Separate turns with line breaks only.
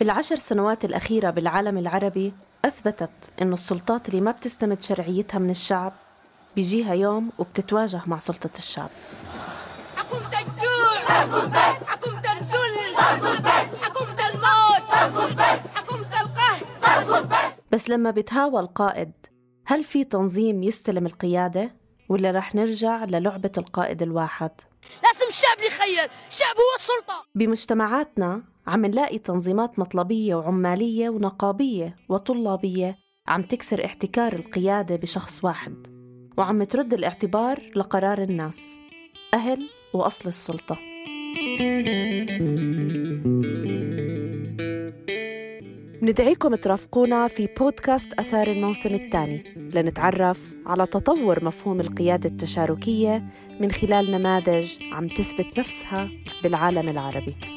بالعشر سنوات الأخيرة بالعالم العربي أثبتت إنه السلطات اللي ما بتستمد شرعيتها من الشعب بيجيها يوم وبتتواجه مع سلطة الشعب
حكومة الجوع اصمت بس حكومة الذل اصمت بس حكومة الموت اصمت بس حكومة القهر اصمت بس
بس لما بتهاوى القائد هل في تنظيم يستلم القيادة ولا رح نرجع للعبة القائد الواحد
لازم الشعب اللي يخير الشعب هو السلطة
بمجتمعاتنا عم نلاقي تنظيمات مطلبية وعمالية ونقابية وطلابية عم تكسر احتكار القيادة بشخص واحد وعم ترد الاعتبار لقرار الناس أهل وأصل السلطة ندعيكم ترافقونا في بودكاست أثار الموسم الثاني لنتعرف على تطور مفهوم القيادة التشاركية من خلال نماذج عم تثبت نفسها بالعالم العربي